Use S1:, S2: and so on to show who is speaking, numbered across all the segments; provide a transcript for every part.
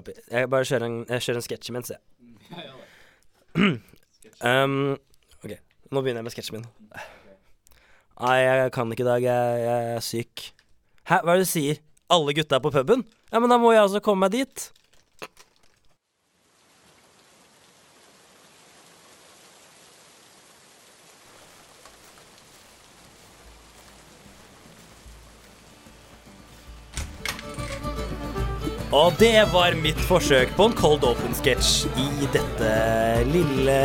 S1: opp i. Jeg bare kjører en, jeg kjører en sketsj imens, jeg. Um, OK, nå begynner jeg med sketsjen min. Nei, jeg kan ikke i dag. Jeg, jeg er syk. Hæ, hva er det du sier? Alle gutta er på puben? Ja, men da må jeg også komme meg dit. Og det var mitt forsøk på en cold open-sketsj i dette lille,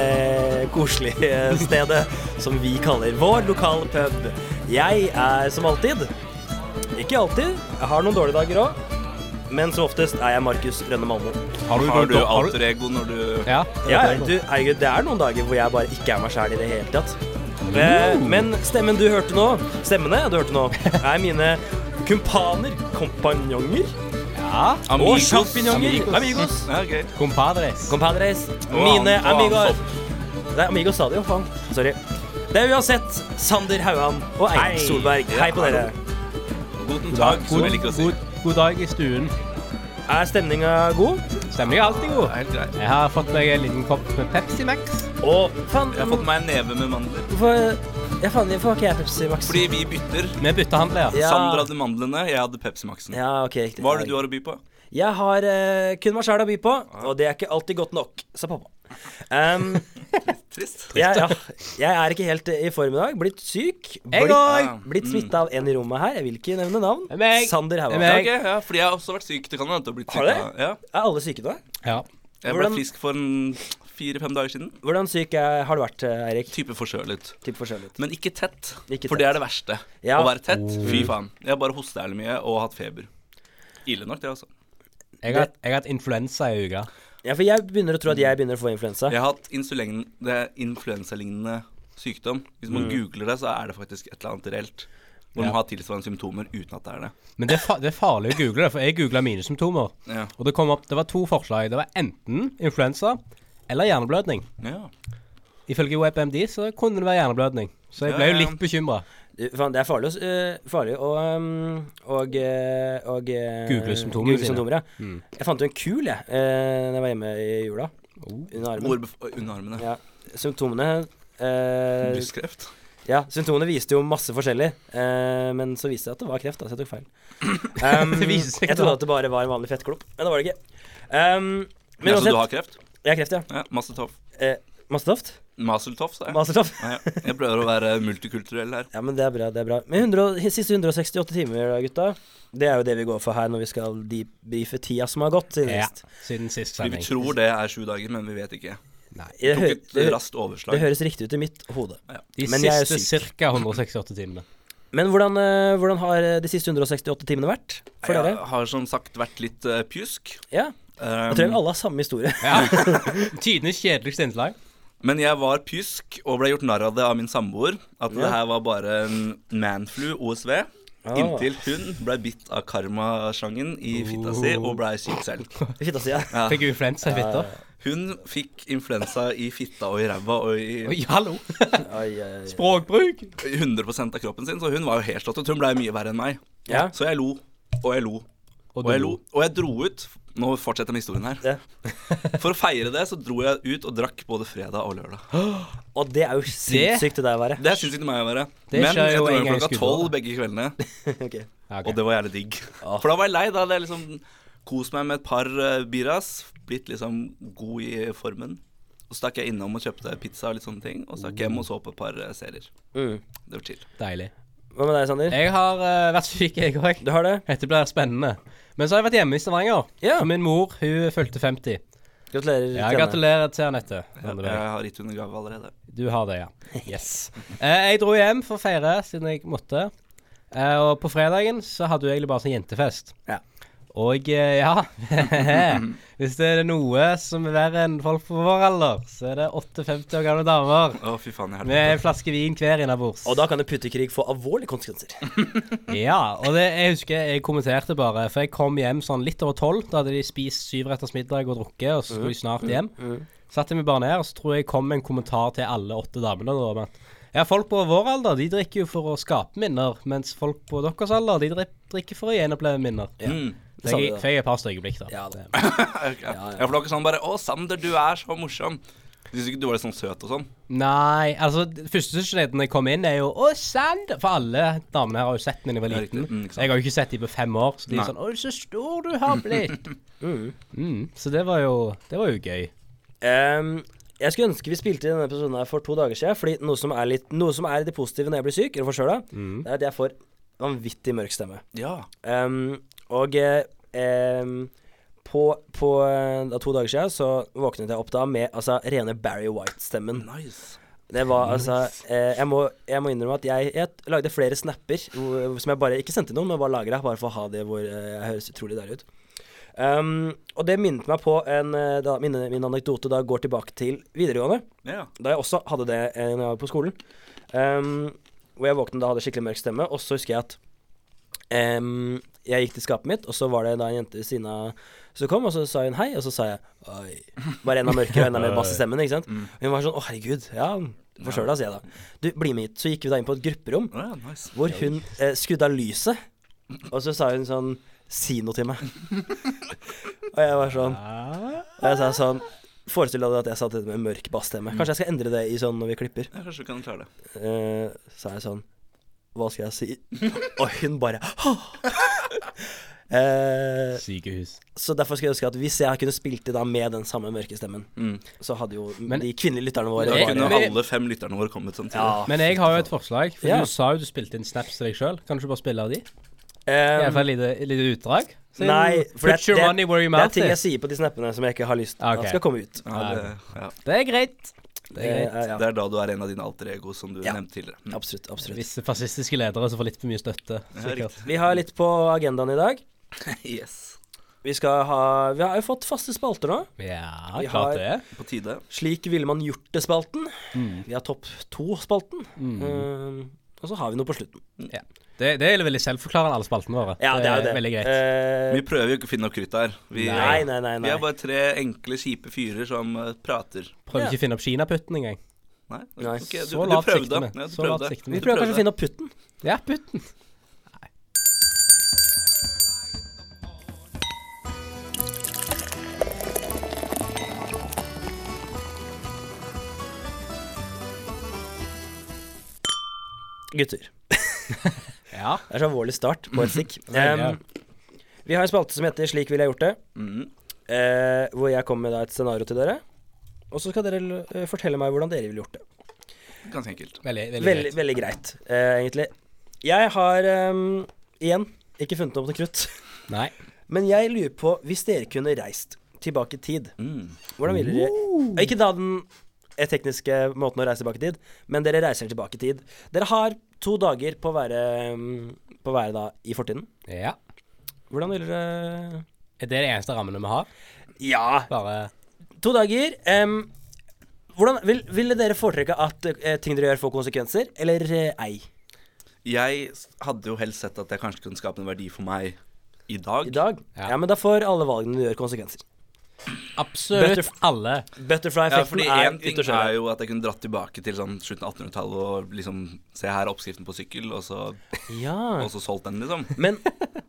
S1: koselige stedet som vi kaller vår lokale pub. Jeg er som alltid Ikke alltid, jeg har noen dårlige dager òg. Men som oftest er jeg Markus Rønne Malmo.
S2: Har du,
S3: Har du
S2: har du-
S3: alter ego når du
S2: Ja.
S1: Ja, du, herregud, det er noen dager hvor jeg bare ikke er meg sjæl i det hele tatt. Eh, Men stemmen du hørte nå, stemmene du hørte nå, er mine kumpaner, kompanjonger
S2: ja.
S1: og
S3: Amigos.
S1: sjampinjonger.
S3: Amigos.
S1: Amigos.
S3: Ja, gøy.
S2: Compadres.
S1: Compadres,
S3: Og
S1: mine
S3: han- og han
S1: amigos Det er amigos stadio, faen. Sorry. Det er uansett Sander Hauan og Eirik Solberg. Hei på dere.
S3: Guten tag, som jeg
S2: God,
S3: liker å si.
S2: god, god dag i stuen.
S1: Er stemninga god?
S2: Stemningen er alltid god.
S3: Helt greit.
S2: Jeg har fått meg en liten kopp med Pepsi Max.
S1: Og faen,
S3: Jeg har fått meg en neve med mandler.
S1: hvorfor ja, faen, hvorfor har ikke jeg Pepsi Max?
S3: Fordi vi bytter.
S2: Vi bytter handler.
S1: Ja.
S3: Sander hadde mandlene, jeg hadde Pepsi Maxen.
S1: Ja, ok, riktig.
S3: Hva er det du har å by på?
S1: Jeg har eh, kun meg sjæl å by på, og det er ikke alltid godt nok, sa pappa. Um,
S3: Trist.
S1: jeg, ja, jeg er ikke helt eh, i form i dag. Blitt syk.
S2: Jeg
S1: Blitt,
S3: òg.
S1: blitt smitta av en i rommet her. Jeg vil ikke nevne navn.
S2: Det er meg.
S1: Sander Hauan.
S2: Det er
S3: Ja,
S1: Er
S2: meg.
S3: ok, ja, fordi jeg har også vært syk. Det kan hende at du har blitt
S1: Har
S3: syk.
S1: du
S3: da. Ja.
S1: alle syke nå?
S2: Ja.
S3: Jeg ble
S1: Hvordan-
S3: frisk for en fire-fem dager siden.
S1: Hvordan syk er, har du vært, eh, Eirik?
S3: Type forkjølet.
S1: Typ forskjellig.
S3: Men ikke tett.
S1: Ikke
S3: for det er det verste.
S1: Ja.
S3: Å være tett. Fy
S2: Mm.
S3: faen. Jeg har bare hosta jævlig mye og hatt feber. Ille nok, det, altså.
S2: Jeg har, jeg har hatt influensa i uka.
S1: Ja, for jeg begynner å tro at jeg begynner å få influensa.
S3: Jeg har hatt insulin, det er influensalignende sykdom. Hvis
S1: Mm.
S3: man googler det, så er det faktisk et eller annet reelt. Hvor man
S2: Ja.
S3: har tilsvarende symptomer uten at det er det.
S2: Men det er, fa det er farlig å google det, for jeg googla mine symptomer.
S3: Ja.
S2: Og det kom opp Det var to forslag. Det var enten influensa eller hjerneblødning.
S3: ja.
S2: Ifølge WebMD så kunne det være hjerneblødning. Så jeg ble jo
S3: Ja, ja.
S2: litt bekymra.
S1: Du, Faen, det er farlig, å s- eh, farlig å ehm, og, eh, og eh,
S2: Google symptomer
S1: google
S2: sine.
S1: symptomer, ja.
S2: Hmm.
S1: Jeg fant jo en kul, jeg, eh, da jeg var hjemme i jula.
S2: Oh,
S1: Under armen.
S3: Hvor bef- under armene.
S1: Ja. Symptomene eh,
S3: Brystkreft.
S1: Ja, symptomene viste jo masse forskjellig. eh, men så viste det at det var kreft, da, så jeg tok feil. Um,
S2: Det viste seg
S1: jeg
S2: da.
S1: trodde at det bare var en vanlig fettklump, men det var det ikke. Um, men
S3: Men altså, du
S1: uansett,
S3: har kreft?
S1: jeg har kreft, ja.
S3: Ja. Masseltoff.
S1: Eh, Mastetoft?
S3: Masseltoff, sa jeg.
S1: Mastertoft?
S3: Ja, ja. Jeg prøver å være multikulturell her.
S1: Ja, men det er bra, det er bra. Men 100, og- siste 168 timer, da, gutta. Det er jo det vi går for her når vi skal debrife tida som har gått siden
S2: Ja,
S1: sist.
S2: siden sist
S3: Fordi
S2: sending.
S3: vi tror det er sju dager, men vi vet ikke.
S2: Nei.
S1: Jeg
S3: Tok
S1: hø-
S3: et
S1: det, hø-
S3: raskt
S1: det
S3: overslag.
S1: høres riktig ut i mitt hode.
S2: De
S1: Men jeg er
S2: siste
S1: syk.
S2: ca. 168 timene.
S1: Men hvordan, eh, hvordan har eh, de siste 168 timene vært for
S3: Jeg
S1: dere?
S3: har som sagt vært litt eh, pjusk.
S1: Ja,
S3: Um,
S1: Jeg tror vi alle har samme historie.
S2: Ja. Tidenes kjedeligste innslag.
S3: Men jeg var pjusk og ble gjort narr av det av min samboer. At
S1: Ja.
S3: det her var bare en manflu, OSV.
S2: Ah.
S3: Inntil hun ble bitt av karmaslangen i fitta si og ble syk selv.
S1: Ah, I fitta si, ja.
S3: Ja.
S2: Fikk influensa i fitta.
S3: Hun fikk influensa i fitta og i ræva og i
S2: Oi, hallo!
S1: Ai, ai, ai.
S2: Språkbruk!
S3: 100 av kroppen sin, så hun var jo helt slått ut. Hun ble mye verre enn meg.
S1: Ja.
S3: Så jeg lo og jeg lo og
S2: du
S3: jeg lo. Og jeg dro ut Nå fortsetter jeg med historien her.
S1: Ja.
S3: For å feire det, så dro jeg ut og drakk både fredag og lørdag.
S1: Og det er jo sinnssykt det der å være.
S3: Det syns ikke meg å være.
S2: Det
S3: Men
S2: skjer
S3: jeg
S2: jo
S3: dro
S2: en
S3: hjem
S2: gang i
S3: klokka
S2: skuddåret.
S3: tolv begge kveldene.
S1: Ok.
S2: Ja, ok.
S3: Og det var jævlig digg. For da var jeg lei. Da hadde jeg liksom kost meg med et par eh, biras, blitt liksom god i formen. Og så stakk jeg innom og kjøpte pizza og litt sånne ting. Og stakk hjem og så på et par eh, serier.
S1: Mm.
S3: Det var chill.
S2: Deilig.
S1: Hva med deg, Sander?
S2: Jeg har eh, vært syk, jeg òg.
S1: Du har det?
S2: Dette blir spennende. Men så har jeg vært hjemme i Stavanger.
S1: Ja.
S2: Og Min mor hun fylte 50.
S1: Gratulerer.
S2: Ja,
S1: til henne.
S2: gratulerer til Anette.
S3: Jeg,
S2: Randeberg.
S3: jeg har gitt henne gave allerede.
S2: Du har det, ja. Yes. Eh, jeg dro hjem for å feire siden jeg måtte. Eh, og på fredagen så hadde hun egentlig bare sånn jentefest.
S1: Ja.
S2: Og eh, ja Hvis det er noe som er verre enn folk på vår alder, så er det 8-50 år gamle damer
S3: Å, fy faen i
S2: med
S3: helvete.
S2: en flaske vin hver innabords.
S1: Og da kan det puttekrig få alvorlige konsekvenser.
S2: Ja, og det, jeg husker jeg kommenterte bare, for jeg kom hjem sånn litt over tolv. Da hadde de spist syvretters middag og drukket, og så skulle de snart hjem. Satte jeg meg bare ned, og så tror jeg kom en kommentar til alle åtte damene. da, om at ja, folk på vår alder de drikker jo for å skape minner, mens folk på deres alder de dri- drikker for å gjenoppleve minner.
S3: Mm.
S2: Så jeg fikk et par stygge blikk, da.
S1: Ja da.
S2: Det-
S3: Ok. Ja, for det var ikke sånn bare 'Å, Sander, du er så morsom'. Syns ikke du var litt sånn søt og sånn?
S2: Nei, altså det første skjeden jeg kom inn, er jo 'Å, Sand!' For alle damene her har jo sett meg da jeg var
S3: Ja,
S2: liten.
S3: riktig. Mm, ikke sant.
S2: jeg har jo ikke sett dem på fem år, så de
S3: Nei.
S2: er sånn 'Å, så stor du har blitt'. mm, så det var jo Det var jo gøy.
S1: Ehm, jeg skulle ønske vi spilte denne episoden her for to dager siden. Fordi noe som er, litt, noe som er det positive når jeg blir syk, eller forkjøla, det er at jeg får vanvittig mørk stemme.
S3: Ja.
S1: Ehm, og eh, ehm, på, på eh, da, to dager siden så våknet jeg opp da med altså, rene Barry White-stemmen.
S3: Nice.
S1: Det var altså eh, jeg, må, jeg må innrømme at jeg, jeg lagde flere snapper hvor- som jeg bare ikke sendte noen, men bare lagra. Bare for å ha det hvor eh, jeg høres utrolig deilig ut. Um, og det minnet meg på en eh, da, min, min anekdote da går tilbake til videregående.
S3: Ja.
S1: Da jeg også hadde det eh, når jeg var på skolen. Um, hvor jeg våknet da hadde skikkelig mørk stemme. Og så husker jeg at em, jeg gikk til skapet mitt, og så var det da en jente ved siden av som kom, og så sa hun hei, og så sa jeg oi. Bare enda mørkere og enda mer bass i stemmen, ikke sant. Og hun var sånn å herregud, ja, forstår deg, sier jeg da. Du, bli med hit. Så gikk vi da inn på et grupperom
S3: Å, ja, nice.
S1: hvor hun eh, skrudde av lyset, og så sa hun sånn Si noe til meg. og jeg var sånn Og jeg sa sånn Forestill deg at jeg satt dette med mørk bassstemme. Kanskje jeg skal endre det i sånn når vi klipper.
S3: Ja, kanskje du kan klare det.
S1: Eh, sa jeg sånn Hva skal jeg si? og hun bare Eh,
S2: Sykehus.
S1: så derfor skulle jeg ønske at hvis jeg kunne spilt det da med den samme mørke stemmen, så hadde jo
S2: Mm. Men-
S1: de kvinnelige lytterne våre
S3: Da
S2: Det-
S1: bare,
S3: kunne
S2: men-
S3: alle fem lytterne våre kommet samtidig.
S1: Eh, Ja.
S2: Men jeg har jo et forslag. For
S1: Ja.
S2: Du sa jo du spilte inn snaps til deg sjøl. Kan du ikke bare spille av de? I
S1: Eh,
S2: hvert fall et lite, et lite utdrag. Så-
S1: Nei, for
S2: Put
S1: det,
S2: your
S1: det,
S2: money where your
S1: det er
S2: mouth
S1: ting jeg
S2: is.
S1: sier på de snappene som jeg ikke har lyst til
S2: Ok.
S1: at skal komme ut.
S3: Ja, det, ja.
S2: Det er greit. Det
S1: Eh,
S2: er greit.
S1: ja,
S3: det er da du er en av dine alter ego, som du
S1: Ja.
S3: nevnte tidligere. Mm.
S1: Absolutt. absolutt
S2: Visse fascistiske ledere som får litt for mye støtte.
S3: Ja,
S2: Sikkert.
S3: riktig.
S1: Vi har litt på agendaen i dag.
S3: Yes.
S1: Vi, skal ha, vi har jo fått faste spalter nå.
S2: Ja,
S1: Vi har-
S2: klart det.
S3: På tide.
S1: Slik ville man gjort det-spalten.
S2: Mm.
S1: Vi har Topp to-spalten. og så har vi noe på slutten.
S2: Ja. Det, det er veldig selvforklarende, alle spaltene våre. Veldig greit.
S1: Eh,
S3: Vi prøver jo ikke å finne noe krutt her. Vi,
S1: nei, nei, nei. nei.
S3: vi er bare tre enkle, kjipe fyrer som eh, prater.
S1: Ja.
S2: Prøvde ikke å finne opp kinaputten engang.
S3: Nei,
S1: Nei.
S3: ok, du,
S2: Så
S3: du
S2: lavt
S3: prøvde.
S2: sikter vi.
S3: Ja, du
S2: Så
S3: prøvde.
S2: lavt sikter
S1: Vi
S2: vi.
S3: Du
S1: prøver
S3: prøvde.
S1: kanskje å finne opp putten.
S2: Ja, putten.
S1: Gutter.
S2: Ja.
S1: Det er så alvorlig start på et stikk.
S2: Mm. Ja.
S1: Em, vi har en spalte som heter 'Slik ville jeg gjort det',
S3: Mhm.
S1: eh, hvor jeg kommer med da et scenario til dere. Og så skal dere l- eh, fortelle meg hvordan dere ville gjort det.
S3: Ganske enkelt.
S2: Veldig, veldig,
S1: Veldig,
S2: greit.
S1: veldig greit, eh, egentlig. Jeg har em, igjen ikke funnet opp noe krutt.
S2: Nei.
S1: Men jeg lurer på, hvis dere kunne reist tilbake i tid,
S3: Mm.
S1: Hvordan ville dere Og Ikke da den tekniske måten å reise tilbake i tid, men dere reiser tilbake i tid. Dere har to dager på å være, mm, på å være da i fortiden.
S2: Ja.
S1: Hvordan ville dere
S2: Er det de eneste rammene vi har?
S1: Ja,
S2: Bare
S1: to dager. em, hvordan, vil, ville dere foretrekke at eh, ting dere gjør, får konsekvenser, eller eh, ei?
S3: Jeg s- hadde jo helst sett at jeg kanskje kunne skape en verdi for meg i dag.
S1: I dag? Ja.
S2: Ja.
S1: men da får alle valgene du gjør, konsekvenser.
S2: absolutt
S1: Butterf-
S2: alle.
S3: Ja,
S1: Butterfly-effekten
S3: fordi
S1: er
S3: én ting
S1: ute å
S3: er
S1: kjøre.
S3: jo at jeg kunne dratt tilbake til sånn slutten av 1800-tallet og liksom se her er oppskriften på sykkel, og så,
S1: Ja.
S3: og så solgt den, liksom.
S1: Men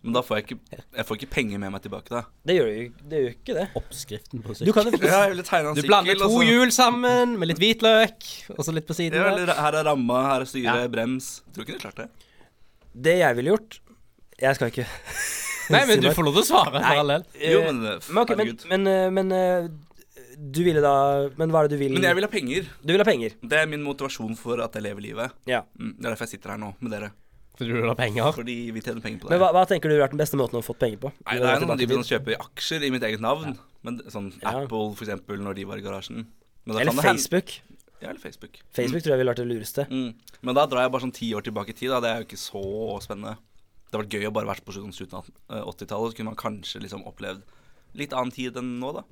S3: Men da får jeg ikke, jeg får ikke penger med meg tilbake, da.
S1: det gjør jo, det gjør jo ikke det.
S2: Oppskriften på
S1: Du
S2: sykkel.
S1: kan jo
S3: Ja, jeg ville tegne en
S2: Du
S3: sykkel,
S2: blander to
S3: og så-
S2: hjul sammen med litt hvitløk, og så litt på siden.
S3: Ja,
S2: der.
S3: eller her er ramma, her er styret,
S2: Ja.
S3: brems. Tror ikke du klarte det.
S1: Det jeg ville gjort Jeg skal ikke
S2: Nei, men du får lov til å svare
S1: Nei.
S2: for all del.
S3: Jo, men, eh,
S1: men, ok, men,
S3: herregud.
S1: men, eh, men eh, du ville da Men hva er det du vil?
S3: Men jeg vil ha penger.
S1: Du vil ha penger.
S3: Det er min motivasjon for at jeg lever livet.
S1: Ja.
S3: Mm, Det er derfor jeg sitter her nå med dere.
S2: Fordi du vil ha penger.
S3: Fordi vi tjener penger på det.
S1: Men hva, hva tenker du har vært den beste måten å få penger på?
S3: Nei,
S1: Vil
S3: det
S1: du
S3: er
S1: tilbake
S3: noen de
S1: til
S3: som kjøper aksjer i mitt eget navn. Men det- sånn
S1: Ja.
S3: Apple, for eksempel, når de var i garasjen. Men da kan
S1: Eller
S3: det hen-
S1: Facebook.
S3: Ja, eller Facebook.
S1: Facebook tror jeg ville vært det lureste.
S3: Mm. Men da drar jeg bare sånn ti år tilbake i tid. Da. Det er jo ikke så spennende. Det hadde vært gøy å bare vært på sånn slutten av 80-tallet. Så kunne man kanskje liksom opplevd litt annen tid enn nå, da.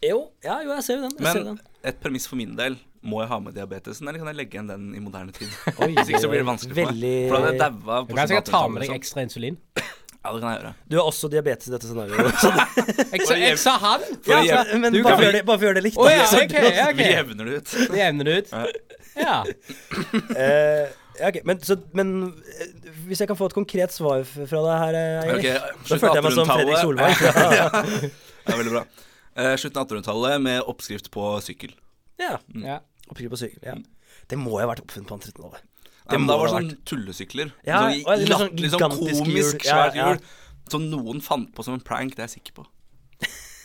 S1: Jo, ja, jo, jeg ser jo den. Jeg ser jo
S3: Men
S1: den.
S3: et premiss for min del må jeg ha med diabetesen, eller kan jeg legge igjen den i moderne tid?
S1: Oi,
S3: Hvis ikke så blir det vanskelig for
S1: veldig-
S3: meg. For da hadde jeg daua. på
S2: Du kan sikkert ta med deg
S3: liksom.
S2: ekstra insulin.
S3: Ja, det kan jeg gjøre.
S1: Du har også diabetes i dette scenarioet. Så det-
S2: Jeg sa, jeg sa han!
S3: For å
S1: ja,
S3: jevne-
S1: men men
S2: Du
S1: bare,
S2: kan-
S1: for å gjøre det, bare for å gjøre det altså. likt.
S2: Å ja,
S1: da.
S2: ok, ja,
S3: Vi
S2: ok.
S3: jevner det ut.
S2: Det jevner det ut. Ja.
S1: Eh, Ja, ok, men, så, men eh, hvis jeg kan få et konkret svar f- fra deg her, eh, Eirik
S3: Ok,
S1: Da
S3: slutt
S1: følte jeg meg som
S3: 1800-tallet.
S1: Fredrik Solvang. Ja.
S3: Det er veldig bra. Eh, Slutten av 1800-tallet med oppskrift på sykkel.
S1: ja.
S2: Ja.
S1: Oppskrift på sykkel. Ja. Det må jo ha vært oppfunnet på 1800-tallet.
S3: Nei, men
S1: må
S3: da var
S1: det
S3: det
S1: ha
S3: sånn tullesykler.
S1: Ja,
S3: sånn,
S1: og litt sånn
S3: latterlig, sånn
S1: gigantisk hjul.
S3: komisk,
S1: Ja,
S3: svært
S1: ja.
S3: hjul. Som noen fant på som en prank, det er jeg sikker på.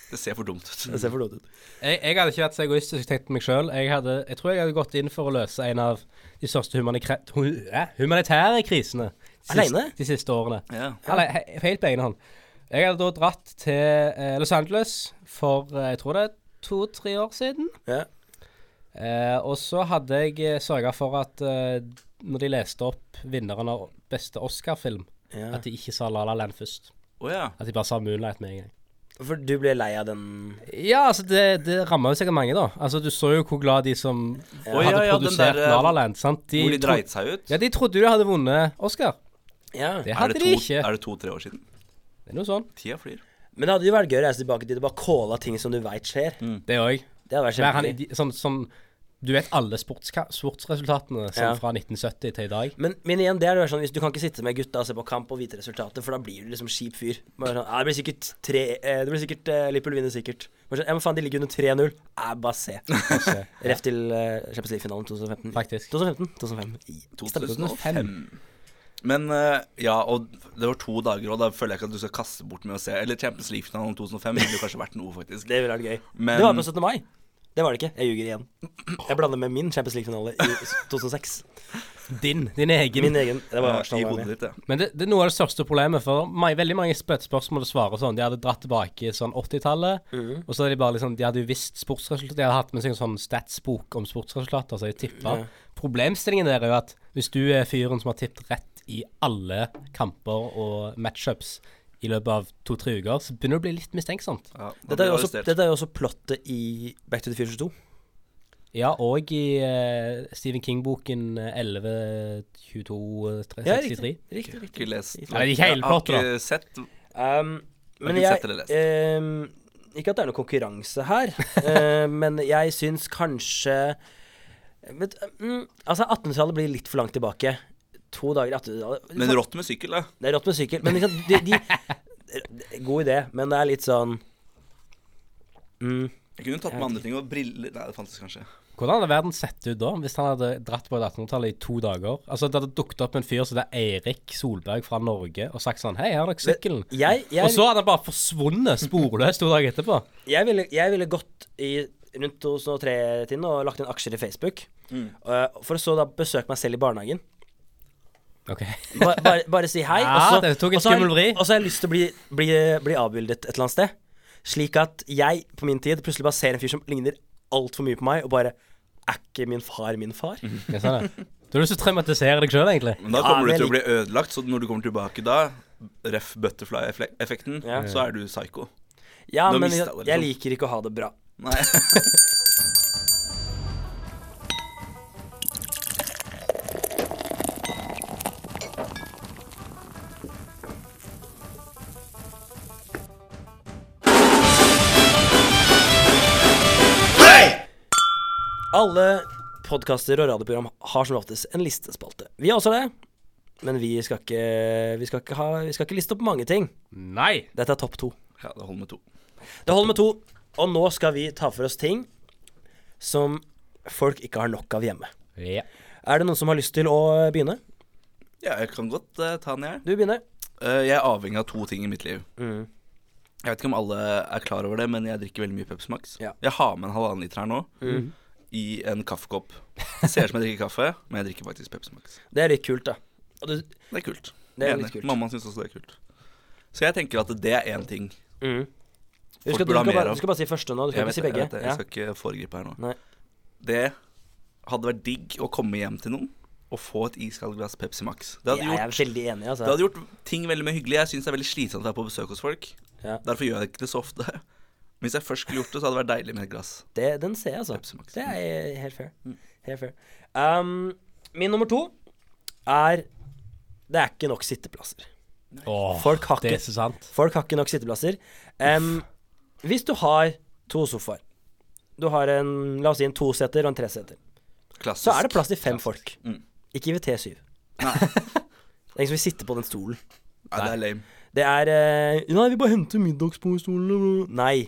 S3: Det ser for dumt
S1: Det
S3: ut.
S1: ser for dumt ut.
S2: Jeg, jeg hadde ikke vært så egoistisk tenkt på meg sjøl. Jeg, hadde- jeg tror jeg hadde gått inn for å løse en av de største humanikre- hu- eh, humanitære krisene de siste-
S1: Alene?
S2: de siste årene.
S3: Ja.
S2: Eller he- helt på egen hånd. Jeg hadde da dratt til eh, Los Angeles for eh, jeg tror det er to-tre år siden.
S1: Ja.
S2: Eh, og så hadde jeg sørga for at eh, når de leste opp vinneren av beste Oscar-film,
S1: Ja.
S2: at de ikke sa La La Land først.
S3: Å ja.
S2: At de bare sa Moonlight med en gang.
S1: For du ble lei av den
S2: Ja, altså det, det ramma jo sikkert mange, da. Altså Du så jo hvor glad de som
S3: Å,
S2: hadde
S3: ja, ja, den
S2: produsert
S3: der, eh,
S2: La La Land, sant?
S3: Hvor de
S2: tro-
S3: dreit seg ut.
S2: Ja, de trodde jo de hadde vunnet Oscar.
S1: Ja.
S2: Det
S3: Er
S2: hadde
S3: det
S2: de
S3: to-
S2: ikke.
S3: er det to-tre år siden?
S2: Det er noe sånn.
S3: Tida flyr.
S1: Men det hadde jo vært gøy å reise tilbake dit og bare calla ting som du veit skjer.
S2: Det òg.
S1: Det hadde vært
S2: Være han i
S1: kjempegøy.
S2: de- sånn, sånn Du vet alle sportska- sportsresultatene
S1: Ja.
S2: sånn fra 1970 til i dag.
S1: Men, men igjen, det er det sånn, hvis du kan ikke sitte med gutta og se på kamp og vite resultatet, for da blir du liksom kjip fyr. Bare sånn, «Ja, det blir sikkert tre eh, Det blir sikkert eh, Liverpool vinner sikkert. Bare sånn, ja, men faen, de ligger under 3-0. Æ, bare se.
S2: kanskje.
S1: Ref til eh, Champions League-finalen 2015.
S2: Faktisk.
S1: 2015. 2005. I, Istanbul.
S2: 2005.
S3: Men eh, ja, og det var to dager, og da føler jeg ikke at du skal kaste bort med å se Eller Champions League-finalen 2005 ville jo kanskje vært noe, faktisk.
S1: Det ville vært gøy.
S3: Men-
S1: Det var på 17. mai. Det var det ikke. Jeg ljuger igjen. Jeg blander med min Champions League-finale i 2006.
S2: Din. Din egen.
S1: Min egen. Det var
S3: I
S1: Arsenal.
S3: hodet
S1: Arne.
S3: ditt, ja.
S2: Men det, det er noe av det største problemet, for meg, veldig mange spør- spørsmål og svarer sånn. De hadde dratt tilbake i sånn 80-tallet,
S1: Mhm.
S2: og så hadde de bare liksom De hadde jo visst sportsresultater. De hadde hatt med seg en sånn statsbok om sportsresultater, så de tippa. Problemstillingen der er jo at hvis du er fyren som har tippet rett i alle kamper og matchups i løpet av to-tre uker, så begynner det å bli litt mistenksomt.
S3: ja da
S1: Dette
S3: blir
S1: er,
S3: du
S1: jo også,
S3: arrestert.
S1: dette er jo også plottet i Back to the Future 2.
S2: Ja, og i eh, Stephen King-boken eh, 11.22.63.
S1: Ja,
S2: Ja,
S1: riktig.
S3: Ikke- Ikke lest
S2: Nei, det er ikke hele plottet,
S3: Jeg har ikke sett
S1: Um, men
S3: ikke
S1: jeg
S3: sett eller lest.
S1: ehm, Ikke at det er noe konkurranse her, eh, men jeg syns kanskje vet, mm, Altså, 1800-tallet blir litt for langt tilbake. To dager i 1800-tallet
S3: Men rått med sykkel, da.
S1: Det er rått med sykkel, men liksom, de, de God idé, men det er litt sånn mm,
S3: Jeg kunne tatt med andre ting. Og briller Nei, det fantes kanskje.
S2: Hvordan hadde verden sett ut da, hvis han hadde dratt på 1800-tallet i to dager? Altså, Det hadde dukket opp en fyr som det er Eirik Solberg fra Norge, og sagt sånn Hei, her har dere sykkelen.
S1: Jeg,
S2: Og
S1: jeg,
S2: så hadde han bare forsvunnet sporløst to dager etterpå.
S1: jeg, ville, jeg ville gått i rundt 2003-tiden og lagt inn aksjer i Facebook. eh, for så da besøke meg selv i barnehagen.
S2: Ok.
S1: Bare, bare, bare si hei.
S2: Ja,
S1: og så-
S2: det tok en
S1: og så har-
S2: skummel vri.
S1: Og så har jeg lyst til å bli, bli, bli avbildet et eller annet sted. Slik at jeg på min tid plutselig bare ser en fyr som ligner altfor mye på meg, og bare Er ikke min far min far?
S2: Jeg sa det. sånn, Du har lyst til å traumatisere deg sjøl, egentlig.
S3: Men da
S1: Ja,
S3: kommer du
S1: men
S3: til å bli ødelagt, så når du kommer tilbake da, ref butterfly-effekten,
S1: Ja.
S3: så er du psycho.
S1: Ja,
S3: Nå
S1: men
S3: mistet
S1: jeg,
S3: jeg det,
S1: jeg
S3: liksom.
S1: liker ikke å ha det bra.
S3: Nei.
S1: Alle podkaster og radioprogram har som oftest en listespalte. Vi har også det, men vi skal ikke, vi skal ikke, ha, vi skal ikke liste opp mange ting.
S2: Nei.
S1: Dette er topp to.
S3: Ja, det holder med to.
S1: Det holder med to. Og nå skal vi ta for oss ting som folk ikke har nok av hjemme.
S2: Ja.
S1: Er det noen som har lyst til å begynne?
S3: Ja, jeg kan godt eh, ta den, jeg.
S1: Du begynner.
S3: Eh, jeg er avhengig av to ting i mitt liv.
S1: Mm.
S3: Jeg vet ikke om alle er klar over det, men jeg drikker veldig mye Pepsi Max.
S1: Ja. Mm.
S3: Jeg har med en halvannen liter her nå, i en kaffekopp. Det ser ut som jeg drikker kaffe, men jeg drikker faktisk Pepsi Max.
S1: Det er litt kult, da. Og du,
S3: Det er kult.
S1: Det er
S3: Enig.
S1: litt kult.
S3: Mamma syns også det er kult. Så jeg tenker at det er én ting.
S1: Mm. du, skal,
S3: Folk
S1: du,
S3: burde ha
S1: skal
S3: mer
S1: bare,
S3: av.
S1: du skal bare si første nå, du skal
S3: Jeg
S1: ikke si
S3: vet det,
S1: begge.
S3: Jeg, vet det.
S1: Ja.
S3: jeg skal ikke foregripe her nå.
S1: Nei.
S3: Det hadde vært digg å komme hjem til noen og få et iskaldt glass Pepsi Max. Det hadde,
S1: Jeg
S3: gjort,
S1: er veldig enig,
S3: det
S1: altså.
S3: hadde gjort ting veldig mye hyggelig. Jeg syns det er veldig slitsomt å være på besøk hos folk.
S1: Ja.
S3: Derfor gjør jeg ikke det så ofte. Men hvis jeg først skulle gjort det, så hadde det vært deilig med et glass.
S1: Det, den ser jeg, altså.
S3: Pepsi Max. Mm.
S1: Det er eh, helt fair. Helt fair. Um, min nummer to er Det er ikke nok sitteplasser.
S2: Åh,
S1: Folk har
S2: det
S1: ikke
S2: er så sant.
S1: Folk har ikke nok sitteplasser. Em, hvis du har to sofaer Du har en la oss si en toseter og en treseter.
S3: Klassisk.
S1: Så er det plass til fem folk. Ikke IVT 7.
S3: Mm. Nei.
S1: Det er ingen som vil sitte på den stolen.
S3: Nei, det er lame.
S1: Det er eh, Nei, vi bare henter middagspostolene. Nei.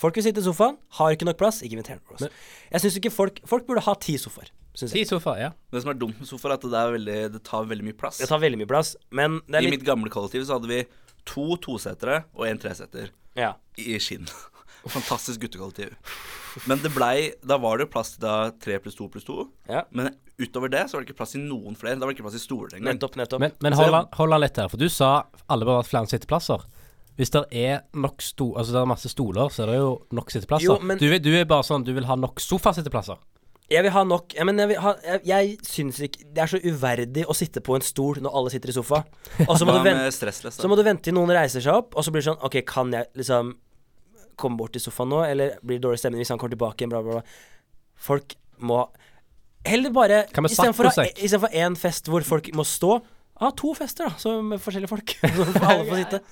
S1: Folk vil sitte i sofaen, har ikke nok plass, ikke inviter noen.
S2: Men-
S1: Jeg synes ikke folk Folk burde ha ti sofaer. Synes jeg.
S2: Ti sofaer, ja.
S3: Det som er dumt med sofaer, er at det, er veldig, det tar veldig mye plass.
S1: Det tar veldig mye plass, men det er
S3: I
S1: litt
S3: mitt gamle kollektiv så hadde vi to tosetere og en treseter
S1: ja.
S3: i skinn. Fantastisk guttekollektiv. Men det blei Da var det jo plass til da tre pluss to pluss to.
S1: Ja.
S3: Men utover det så var det ikke plass til noen flere. Da var det ikke plass til stoler engang.
S1: Nettopp, nettopp.
S2: Men, men
S3: Så-
S2: hold, an, hold an litt her, for du sa alle bør ha flere sitteplasser. Hvis det er nok sto, altså det er masse stoler, så er det jo nok sitteplasser.
S1: Jo, men-
S2: du, vil- du er bare sånn, du vil ha nok sofasitteplasser.
S1: Jeg vil ha nok ja, men jeg, vil ha, jeg, jeg syns ikke Det er så uverdig å sitte på en stol når alle sitter i sofa. Og så må
S3: Hva
S1: du vente
S3: med stressless?
S1: Så
S3: da?
S1: må du vente til noen reiser seg opp, og så blir det sånn OK, kan jeg liksom komme bort til sofaen nå, eller blir det dårlig stemning hvis han kommer tilbake igjen, bla, bla, bla. Folk må Heller bare
S2: Kan vi
S1: Istedenfor å ha- e,
S2: saccosekk?
S1: istedenfor én fest hvor folk må stå, ha to fester, da, så med forskjellige folk. Så får alle får sitte.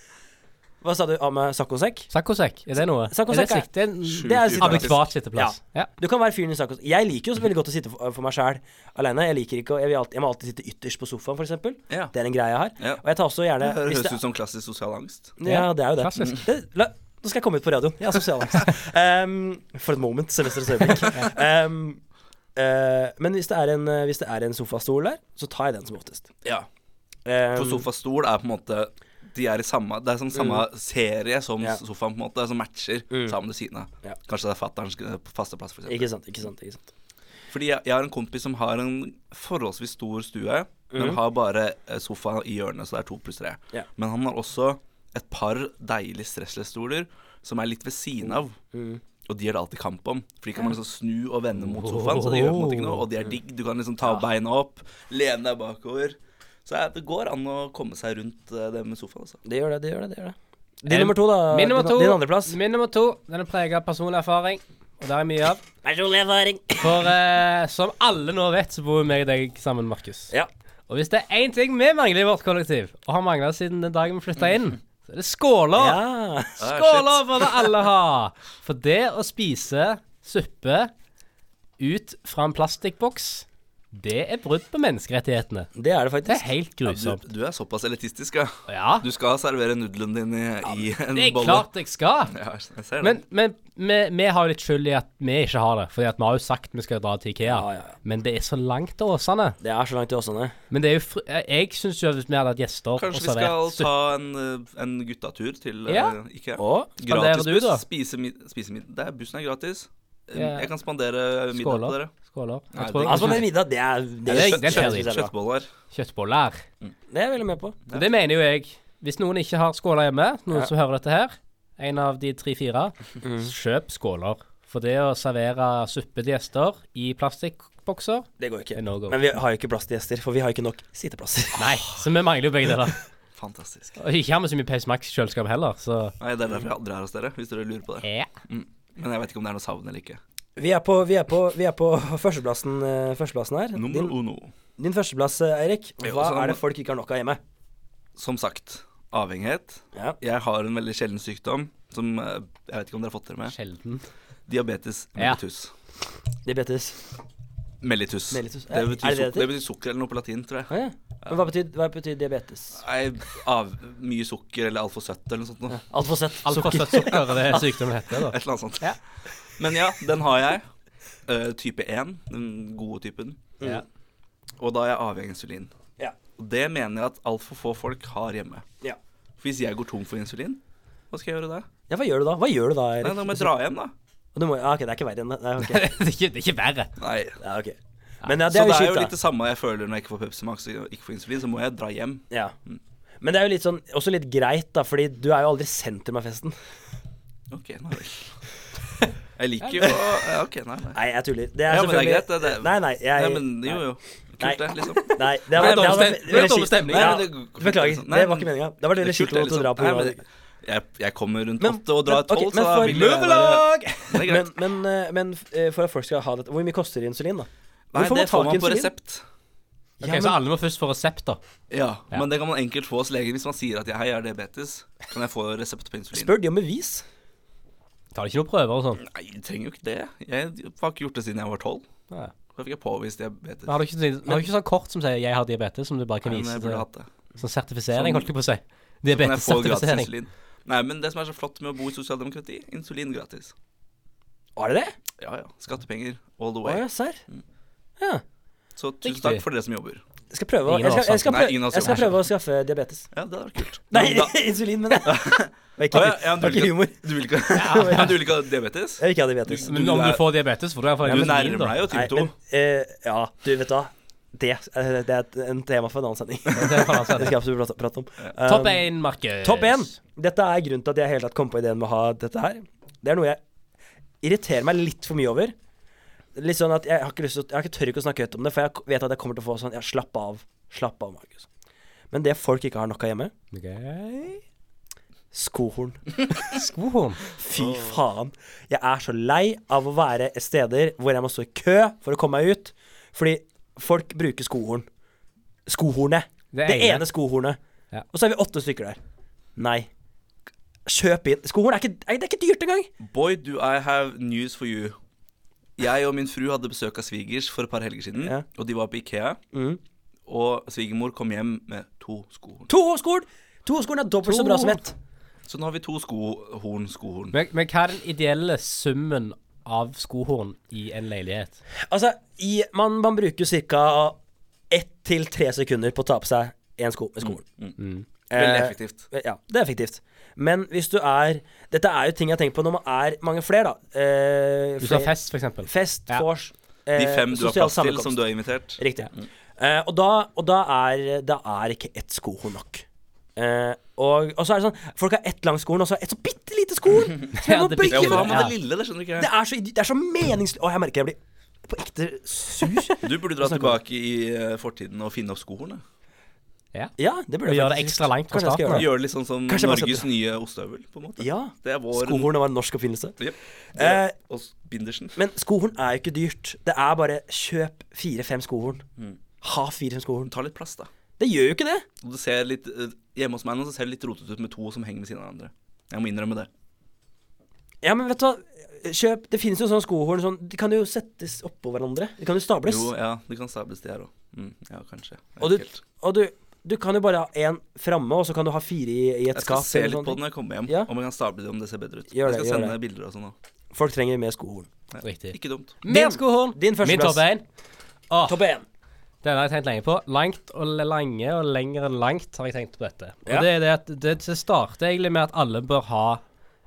S1: Hva sa du eh, av med saccosekk?
S2: Sakkosekk, er det noe?
S1: Sakkosekk
S2: er det sikt? Det er
S3: Sjukt
S1: Det er
S2: en
S1: sitt-
S3: upraktisk.
S2: adekvat sitteplass. Ja.
S1: Du kan være fyren i saccosekk. Jeg liker jo så veldig godt å sitte for, for meg sjæl aleine. Jeg liker ikke å jeg, vil alltid, jeg må alltid sitte ytterst på sofaen, f.eks.
S3: Ja.
S1: Det er en greie jeg har.
S3: Ja.
S1: Og jeg tar også gjerne
S3: Det høres
S1: hvis det-
S3: ut som klassisk sosial angst.
S1: Ja, det er jo det.
S2: Klassisk.
S1: det la, nå skal jeg komme ut på radioen. Jeg er sosialangst. um, for et moment, semesterets øyeblikk. Um, eh, men hvis det, er en, eh, hvis det er en sofastol der, så tar jeg den som oftest.
S3: Ja.
S1: Um,
S3: For sofastol er på en måte De er i samme Det er sånn samme serie som
S1: Mm. Ja. Mm.
S3: sofaen, på en måte, som matcher sammen ved siden av.
S1: Ja.
S3: Kanskje det er fatterns eh, faste plass, for eksempel.
S1: Ikke sant, ikke sant. ikke sant
S3: Fordi jeg, jeg har en kompis som har en forholdsvis stor stue,
S2: Mhm.
S3: men har bare eh, sofa i hjørnet, så det er to pluss tre.
S1: Ja.
S3: Men han har også et par deilige stressless-stoler som er litt ved siden av.
S2: Mhm.
S3: Og de er det alltid kamp om, for de kan man liksom snu og vende mot sofaen. Så det gjør på en måte ikke noe, og de
S2: Mhm.
S3: er digg. Du kan liksom ta beina opp, lene deg bakover. Så eh, det går an å komme seg rundt eh, det med sofaen, altså.
S1: Det gjør det, det gjør det. det, gjør det. Din
S2: Eh,
S1: nummer to, da.
S2: Min nummer
S1: din-
S2: to,
S1: Din andreplass.
S2: Min nummer to, den er preget av personlig erfaring, og det er mye av.
S1: Personlig erfaring.
S2: For eh, som alle nå vet, så bor vi og deg sammen, Markus.
S1: Ja.
S2: Og hvis det er én ting vi mangler i vårt kollektiv, og har mangla siden den dagen vi flytta inn, så er det skåler.
S1: ja.
S3: Ah!
S2: Ah, Skåler for det alle har! For det å spise suppe ut fra en plastikkboks, det er brudd på menneskerettighetene.
S1: Det er det
S2: Det er
S1: faktisk.
S2: helt
S3: Du,
S2: grusomt.
S3: du er såpass elitistisk, ja.
S2: Ja,
S3: Du skal servere nudlene dine i, i en
S2: det er
S3: bolle.
S2: klart jeg skal.
S3: Ja, jeg ser det.
S2: Men, men vi, vi har jo litt skyld i at vi ikke har det, fordi at vi har jo sagt vi skal dra til Ikea.
S1: Ja, ja, ja.
S2: Men det er så langt til Åsane.
S1: Det er så langt til Åsane.
S2: Men det er jo fr jeg syns jo at hvis vi hadde hatt gjester
S3: Kanskje
S2: og
S3: vi skal
S2: servert
S3: ta
S2: suppe
S3: en, eh, en guttatur til eh,
S2: Ja.
S3: Ikea.
S1: Og
S2: spanderer
S3: Gratis
S2: du,
S3: buss.
S2: da?
S3: Spise, mid- spise mid- Det er bussen er gratis. Eh,
S2: Ja.
S3: Jeg kan spandere middag på
S2: Skåler.
S3: dere.
S2: Skåler.
S3: Nei,
S2: Jeg tror sånn
S3: det-
S1: Altså,
S2: kanskje
S1: den middagen, det er Det,
S2: det
S1: det,
S2: er- det er
S1: synes jeg er bra.
S3: Kjøttboller.
S2: kjøttboller.
S1: det er jeg veldig med på.
S2: Og Det mener jo jeg. Hvis noen ikke har skåler hjemme, noen som hører dette her, en av de tre-fire,
S3: Mm.
S2: kjøp skåler. For det å servere suppe til gjester i plastikkbokser
S1: Det går ikke.
S2: Det er no go.
S1: Men vi har jo ikke plass til gjester, for vi har jo ikke nok sitteplasser.
S2: Nei, så vi mangler jo begge deler.
S3: Fantastisk.
S2: Og ikke har vi så mye Pace Max-kjøleskap heller, så
S3: Nei, Det er derfor jeg aldri er hos dere, hvis dere lurer på det.
S2: ja.
S3: Men jeg vet ikke om det er noe savn eller ikke.
S1: Vi er på, vi er på, vi er på førsteplassen, eh, førsteplassen her.
S3: Nummer
S1: Din,
S3: uno.
S1: din førsteplass, eh, Eirik.
S3: Jo,
S1: Hva
S3: så-
S1: er det folk ikke har nok av hjemme?
S3: Som sagt, avhengighet.
S1: Ja.
S3: Jeg har en veldig sjelden sykdom som eh, Jeg vet ikke om dere har fått det med.
S2: Sjelden.
S3: Diabetes
S2: Ja.
S3: mellitus.
S1: Diabetes.
S3: Mellitus.
S1: Mellitus.
S3: Det,
S1: Er det
S3: betyr
S1: det det
S3: suk- det betyr sukker eller noe på latin, tror jeg.
S1: Ah, ja. Men hva betyr, hva betyr diabetes?
S3: Nei, av, mye sukker eller altfor søtt eller noe sånt. Noe.
S1: Altfor søtt.
S2: Altfor søtt sukker, det er sykdommen heter, da.
S3: Et eller annet sånt.
S2: Ja.
S3: Men ja, den har jeg. Eh, type 1, den gode typen.
S1: Mm.
S2: Ja.
S3: Og da er jeg avhengig av insulin.
S1: Ja.
S3: Og det mener jeg at altfor få folk har hjemme.
S1: Ja.
S3: For hvis jeg går tom for insulin, hva skal jeg gjøre da?
S1: ja, hva gjør du da? Hva gjør du da,
S3: Nei,
S1: Eirik?
S3: Da må jeg dra hjem, da.
S1: Du må, ja, ok, det er ikke verre enn det. Nei, ok.
S2: det, er ikke, det er ikke verre.
S3: Nei.
S1: Ja, ok. Men ja, det
S3: Så
S1: er
S3: det
S1: jo
S3: er jo
S1: kjipt,
S3: litt
S1: da.
S3: det samme jeg føler når jeg ikke får Pepsi Max og ikke får insulin, så må jeg dra hjem.
S1: Ja. Men det er jo litt sånn, også litt greit, da, fordi du er jo aldri sentrum av festen.
S3: Ok, nei vel. Jeg liker jo ja, OK, nei, nei.
S1: Nei, jeg tuller. Det er
S3: Ja, men det er
S1: selvfølgelig
S3: greit, det. det.
S1: Nei, nei, jeg
S3: nei men jo, jo.
S1: Nei.
S3: Kult, det, liksom.
S1: Nei, det var,
S2: Det er dårlig
S1: det var
S2: stem- det er
S1: veldig
S2: dårlig
S1: kjipt.
S2: stemning.
S1: Ja,
S3: Nei, men det- liksom.
S1: beklager.
S3: Nei,
S1: Det var ikke
S3: men-
S1: meninga. Det var veldig
S3: kult,
S1: kjipt
S3: liksom-
S1: å dra på
S3: Nei,
S1: grunn av
S3: men jeg, jeg kommer rundt
S1: Men-
S3: åtte og drar
S1: men- ok,
S3: tolv,
S1: men
S3: så da
S1: for-
S3: vil jeg være Det er greit.
S1: Men, men, eh, men eh, for at folk skal ha dette Hvor mye koster insulin, da?
S3: Nei,
S1: Hvorfor må
S3: det
S1: folk
S3: får man på
S1: insulin?
S3: resept.
S2: Ok,
S1: Ja,
S2: Så
S1: men-
S2: alle må først få resept, da.
S3: Ja,
S2: Ja.
S3: men det kan man enkelt få hos legen hvis man sier at jeg har diabetes. Kan jeg få resept på insulin?
S1: Spør de om bevis?
S2: Tar de ikke noen prøver og sånn?
S3: Nei, du trenger jo ikke det. Jeg har ikke gjort det siden jeg var tolv.
S2: Ja.
S3: Da fikk jeg påvist diabetes.
S2: Men Har du ikke, sånn- har du ikke sånn kort som sier 'jeg har diabetes', som du bare kan
S3: Nei, men
S2: vise?
S3: jeg
S2: til-
S3: burde hatt det.
S2: Sånn sertifisering,
S3: Sånn-
S2: holdt jeg på å si.
S3: Kan jeg få gratis
S2: Diabetes-sertifisering.
S3: insulin? Nei, men det som er så flott med å bo i sosialdemokrati, insulin gratis.
S1: Var det det?
S3: Ja, ja. Skattepenger all the
S1: Å,
S3: way.
S1: ja, serr.
S3: Så tusen
S2: Riktig.
S3: takk for dere som jobber.
S1: Jeg skal prøve å, jeg
S2: Ingen av
S1: skal,
S2: oss
S1: jeg skal
S3: har- Nei,
S1: prøve,
S3: ingen av oss
S1: jeg skal
S3: har-
S1: prøve å skaffe diabetes.
S3: Ja, det hadde vært kult.
S1: Nei,
S3: Men da-
S1: insulin, mener jeg. Det var
S3: Å,
S1: ikke,
S3: ja, ja,
S1: det
S3: du
S1: var
S3: vil
S1: ikke
S3: ikke-
S1: humor.
S3: Du vil ikke, ja, du vil ikke ha diabetes?
S1: Jeg vil ikke ha diabetes.
S3: Du-
S2: Men om du
S3: er-
S2: får diabetes, får du iallfall
S3: Du
S2: insulin, da.
S3: nærmer deg jo
S1: Nei,
S3: type 2.
S1: men, eh, ja, du vet hva. Det, eh, det er et en tema for en annen sending. Det
S2: Det er faen sant.
S1: skal jeg absolutt prate, prate om. Um,
S2: Topp én, Markus.
S1: Topp én. Dette er grunnen til at jeg i hele tatt kom på ideen med å ha dette her. Det er noe jeg irriterer meg litt for mye over. Litt sånn at Jeg har ikke lyst til å- Jeg har ikke tør ikke å snakke høyt om det, for jeg vet at jeg kommer til å få sånn Ja, slapp av. Slapp av, Markus. Men det folk ikke har nok av hjemme
S2: Okay.
S1: skohorn.
S2: Skohorn.
S1: Fy faen. Jeg er så lei av å være steder hvor jeg må stå i kø for å komme meg ut. Fordi folk bruker skohorn. Skohornet.
S2: Det
S1: Det,
S2: ene.
S1: ene skohornet.
S2: Ja.
S1: Og så er vi åtte stykker der. Nei. Kjøp inn. Skohorn er ikke, nei, det er ikke dyrt engang.
S3: Boy, do I have news for you. Jeg og min fru hadde besøk av svigers for et par helger siden,
S1: Ja.
S3: og de var på Ikea.
S1: Mhm.
S3: Og svigermor kom hjem med to skohorn.
S1: To skohorn! To skohorn er dobbelt så bra som ett.
S3: Så nå har vi to skohorn, skohorn.
S2: Men, men hva er den ideelle summen av skohorn i en leilighet?
S1: Altså, i, man, man bruker ca. ett til tre sekunder på å ta på seg én sko med skohorn.
S3: Veldig
S1: Eh,
S3: effektivt.
S1: Ja, det er effektivt. Men hvis du er Dette er jo ting jeg tenker på når man er mange flere, da. Eh,
S2: Hvis du har
S1: flere-
S2: fest, for eksempel.
S1: Fest,
S2: Ja.
S1: vors, eh,
S3: De fem du har
S1: sosial
S3: plass til, som
S1: sammenkomst.
S3: du har invitert.
S1: Riktig. Eh, og da, og da, er, da er ikke ett skohorn nok. Eh, og, og så er det sånn Folk har ett langt skohorn, og så er det ett så bitte lite skohorn! Som jeg
S2: Ja,
S1: må
S2: det
S1: bøye
S2: bitte
S3: Ja,
S1: meg
S3: Hvorfor har
S1: opp.
S3: man
S2: Ja.
S3: det lille? Det skjønner ikke
S1: Det
S3: jeg.
S1: er så, det er så meningsløst Å, jeg merker jeg blir på ekte sur.
S3: Du burde dra tilbake i eh, fortiden og finne opp skohornet.
S2: Ja.
S1: Ja, det burde
S2: Og
S1: jeg
S2: gjøre det
S1: faktisk.
S2: ekstra langt fra
S1: Kanskje jeg skal
S2: starten,
S1: gjøre det.
S3: Gjøre det litt sånn som
S1: Kanskje man skal-
S3: Norges nye ostehøvel, på en måte.
S1: Ja.
S3: Det er vår
S1: Skohorn var en norsk oppfinnelse.
S3: Jep. Det er
S1: Eh,
S3: oss Bindersen.
S1: Men skohorn er jo ikke dyrt. Det er bare kjøp fire-fem skohorn.
S3: Mm.
S1: Ha fire-fem skohorn.
S3: Ta litt plass, da.
S1: Det gjør jo ikke det.
S3: Og det ser litt, eh, hjemme hos meg nå så ser det litt rotete ut med to som henger ved siden av hverandre. Jeg må innrømme det.
S1: Ja, men vet du hva. Kjøp, Det finnes jo sånne skohorn sånn, De kan jo settes oppå hverandre. De kan jo stables.
S3: Jo, ja, du kan stables de her òg. Mm, ja, kanskje. Jeg
S1: og
S3: vet
S1: du,
S3: ikke helt.
S1: og du, du kan jo bare ha én framme, og så kan du ha fire i, i et
S3: jeg skal
S1: skap.
S3: se
S1: eller
S3: litt
S1: sånne
S3: på det
S1: ting.
S3: når jeg kommer hjem,
S1: sånn Ja.
S3: om jeg kan stable det om det ser bedre
S1: Gjør
S3: ut.
S1: det,
S3: jeg
S1: gjør
S3: skal sende
S1: det.
S3: bilder og sånn òg.
S1: Folk trenger mer skohorn.
S2: Riktig.
S3: Ikke dumt.
S2: Mer
S1: Din-
S2: skohorn.
S1: din første
S2: Min
S1: plass.
S2: topp én.
S3: Ah.
S2: Åh,
S1: Topp én.
S2: Den har jeg tenkt lenge på. Langt og le- lange og lenger enn langt har jeg tenkt på dette. Og
S1: Ja.
S2: det er det at det, det starter egentlig med at alle bør ha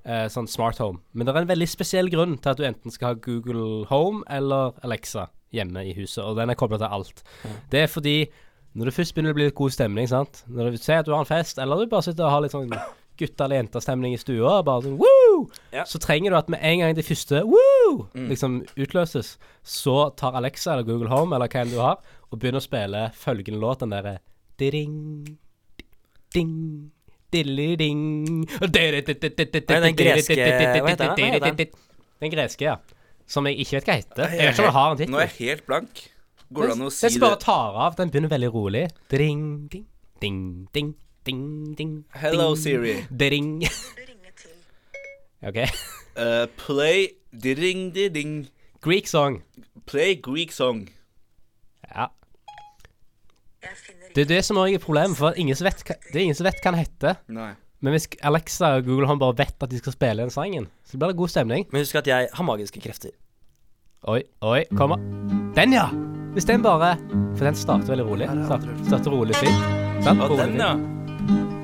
S2: eh, sånn smart home. Men det er en veldig spesiell grunn til at du enten skal ha Google Home eller Alexa hjemme i huset, og den er kobla til alt. Det er fordi når det først begynner å bli litt god stemning, sant Når du ser at du har en fest, eller du bare sitter og har litt sånn gutta- eller jentastemning i stua, og bare sånn woo!
S1: Ja.
S2: Så trenger du at med en gang det første woo! liksom utløses, så tar Alexa eller Google Home eller hva enn du har, og begynner å spille følgende låt, den derre Ding, ding, dilliding Den
S1: den greske- hva heter den? Hva heter den?
S2: Den greske, ja. Som jeg ikke vet hva heter. Jeg vet ikke om den har en tittel.
S3: Nå er jeg helt blank. Går det an å si
S2: Den som
S3: det?
S2: bare tar av. Den begynner veldig rolig. Dring, ding, ding, ding, ding, ding.
S3: Hello,
S2: ding,
S3: Siri.
S2: Dring. OK.
S3: Eh, play diring di ding.
S2: Greek song.
S3: Play Greek song.
S2: Ja. Det er det som også er problemet, for ingen som vet hva, det er ingen som vet hva den heter.
S3: Nei.
S2: Men hvis Alexa og Google Home bare vet at de skal spille den sangen, så blir det god stemning.
S1: Men husk at jeg har magiske krefter.
S2: Oi, oi, kommer Den, ja! Hvis den bare For den starter veldig rolig.
S3: Her er
S2: Start,
S3: andre.
S2: starter rolig fint. Sant?
S3: Og
S2: Rolig
S3: den,
S2: fint.
S3: ja.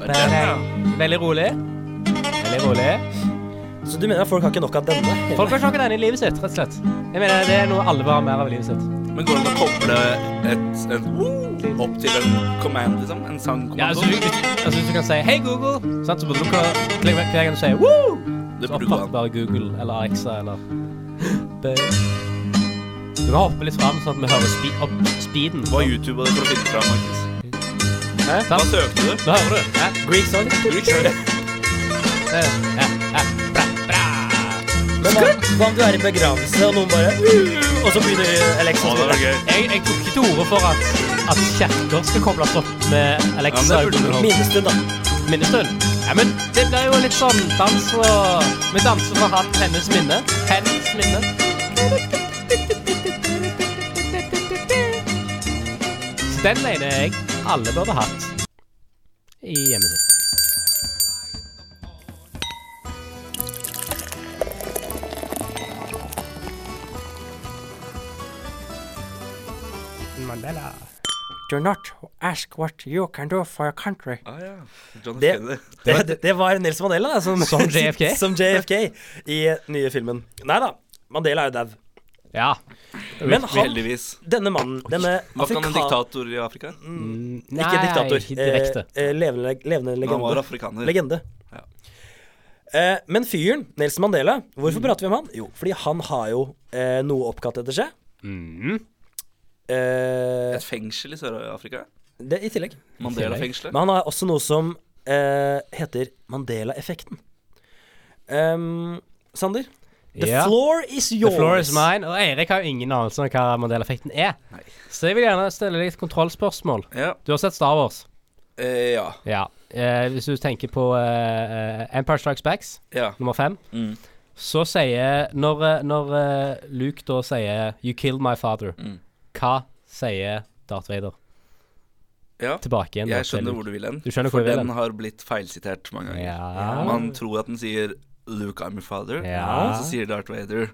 S3: Det er den, ja.
S2: Veldig rolig. Veldig rolig.
S1: Så du mener at folk har ikke nok av denne?
S2: Folk har ikke denne i livet sitt, rett og slett. Jeg mener, Det er noe alle bør ha mer av i livet sitt.
S3: Men går det an å koble et, et woo opp til en command, liksom? En
S2: Ja, altså,
S3: sangkommando?
S2: du, altså, hvis du kan si 'Hei, Google', sant? så burde du kan- hver hver gang du sier 'woo',
S3: det
S2: så
S3: burde gå
S2: oppfatter
S3: an.
S2: bare Google eller Alexa eller Du kan hoppe litt fram, sånn at vi hører spe opp speeden.
S3: Hva YouTube og det for å finne fram, Markus?
S2: Hæ?
S3: Hva
S2: Sant?
S3: søkte du?
S2: Nå hører du. Hæ?
S1: Greek song.
S3: Greek song.
S2: Ja, ja, bra, bra.
S1: Men hva, hva om du er i begravelse, og noen bare «Uh», Og så begynner Alexa
S3: Å,
S1: å
S3: det var
S1: spille.
S3: gøy.
S2: Jeg, jeg tok ikke til orde for at, at kjerker skal kobles opp med Alexa.
S3: Ja, men det burde du ha.
S1: Minnestund, da.
S2: Minnestund. Ja, men det blir jo litt sånn dans og Vi danser for han, hennes minne. Hennes minne. Den mener jeg alle burde hatt i hjemmet sitt. Mandela.
S4: Do not ask what you can do for your country.
S3: Ah, ja. John F.
S1: Det-
S3: Kennedy.
S1: Det, det, det var Nils Mandela da, som,
S2: Som JFK?
S1: som JFK i nye filmen. Nei da, Mandela er jo dau.
S2: Ja.
S1: Men han,
S3: Heldigvis.
S1: denne mannen, denne
S3: Var ikke han en
S1: afrika-
S3: diktator i Afrika?
S1: Ikke diktator.
S2: Ikke direkte.
S1: Eh, eh, levende, levende
S3: Han var
S1: legende.
S3: afrikaner.
S1: legende.
S3: Ja.
S1: Eh, men fyren, Nelson Mandela,
S3: Mm.
S1: hvorfor prater vi om han? Jo, fordi han har jo eh, noe oppkalt etter seg.
S2: Mm.
S1: Eh,
S3: Et fengsel i Sør-Afrika?
S1: det I tillegg.
S3: Mandela-fengselet?
S1: Men han har også noe som eh, heter Mandela-effekten. Ehm, Sander, the
S2: Ja.
S1: floor is yours.
S2: The floor is mine. Og Eirik har jo ingen anelse om hva Mandela-effekten er.
S3: Nei.
S2: Så jeg vil gjerne stille deg et kontrollspørsmål.
S3: Ja.
S2: Du har sett Star Wars.
S3: Eh, ja.
S2: Ja. Eh, hvis du tenker på eh, eh, Empire Strikes Backs,
S3: ja.
S2: nummer fem,
S3: Mm.
S2: så sier Når, eh, når eh, Luke da sier 'You killed my father',
S3: Mm.
S2: hva sier Darth Vader
S3: ja.
S2: tilbake igjen? da
S3: Jeg
S2: til
S3: skjønner
S2: Luke?
S3: hvor du vil hen.
S2: Du skjønner hvor
S3: For
S2: jeg vil
S3: den
S2: hen.
S3: har blitt feilsitert mange ganger.
S2: Ja.
S3: Man tror at den sier 'Luke, I'm your father',
S2: Ja.
S3: og så sier Darth Vader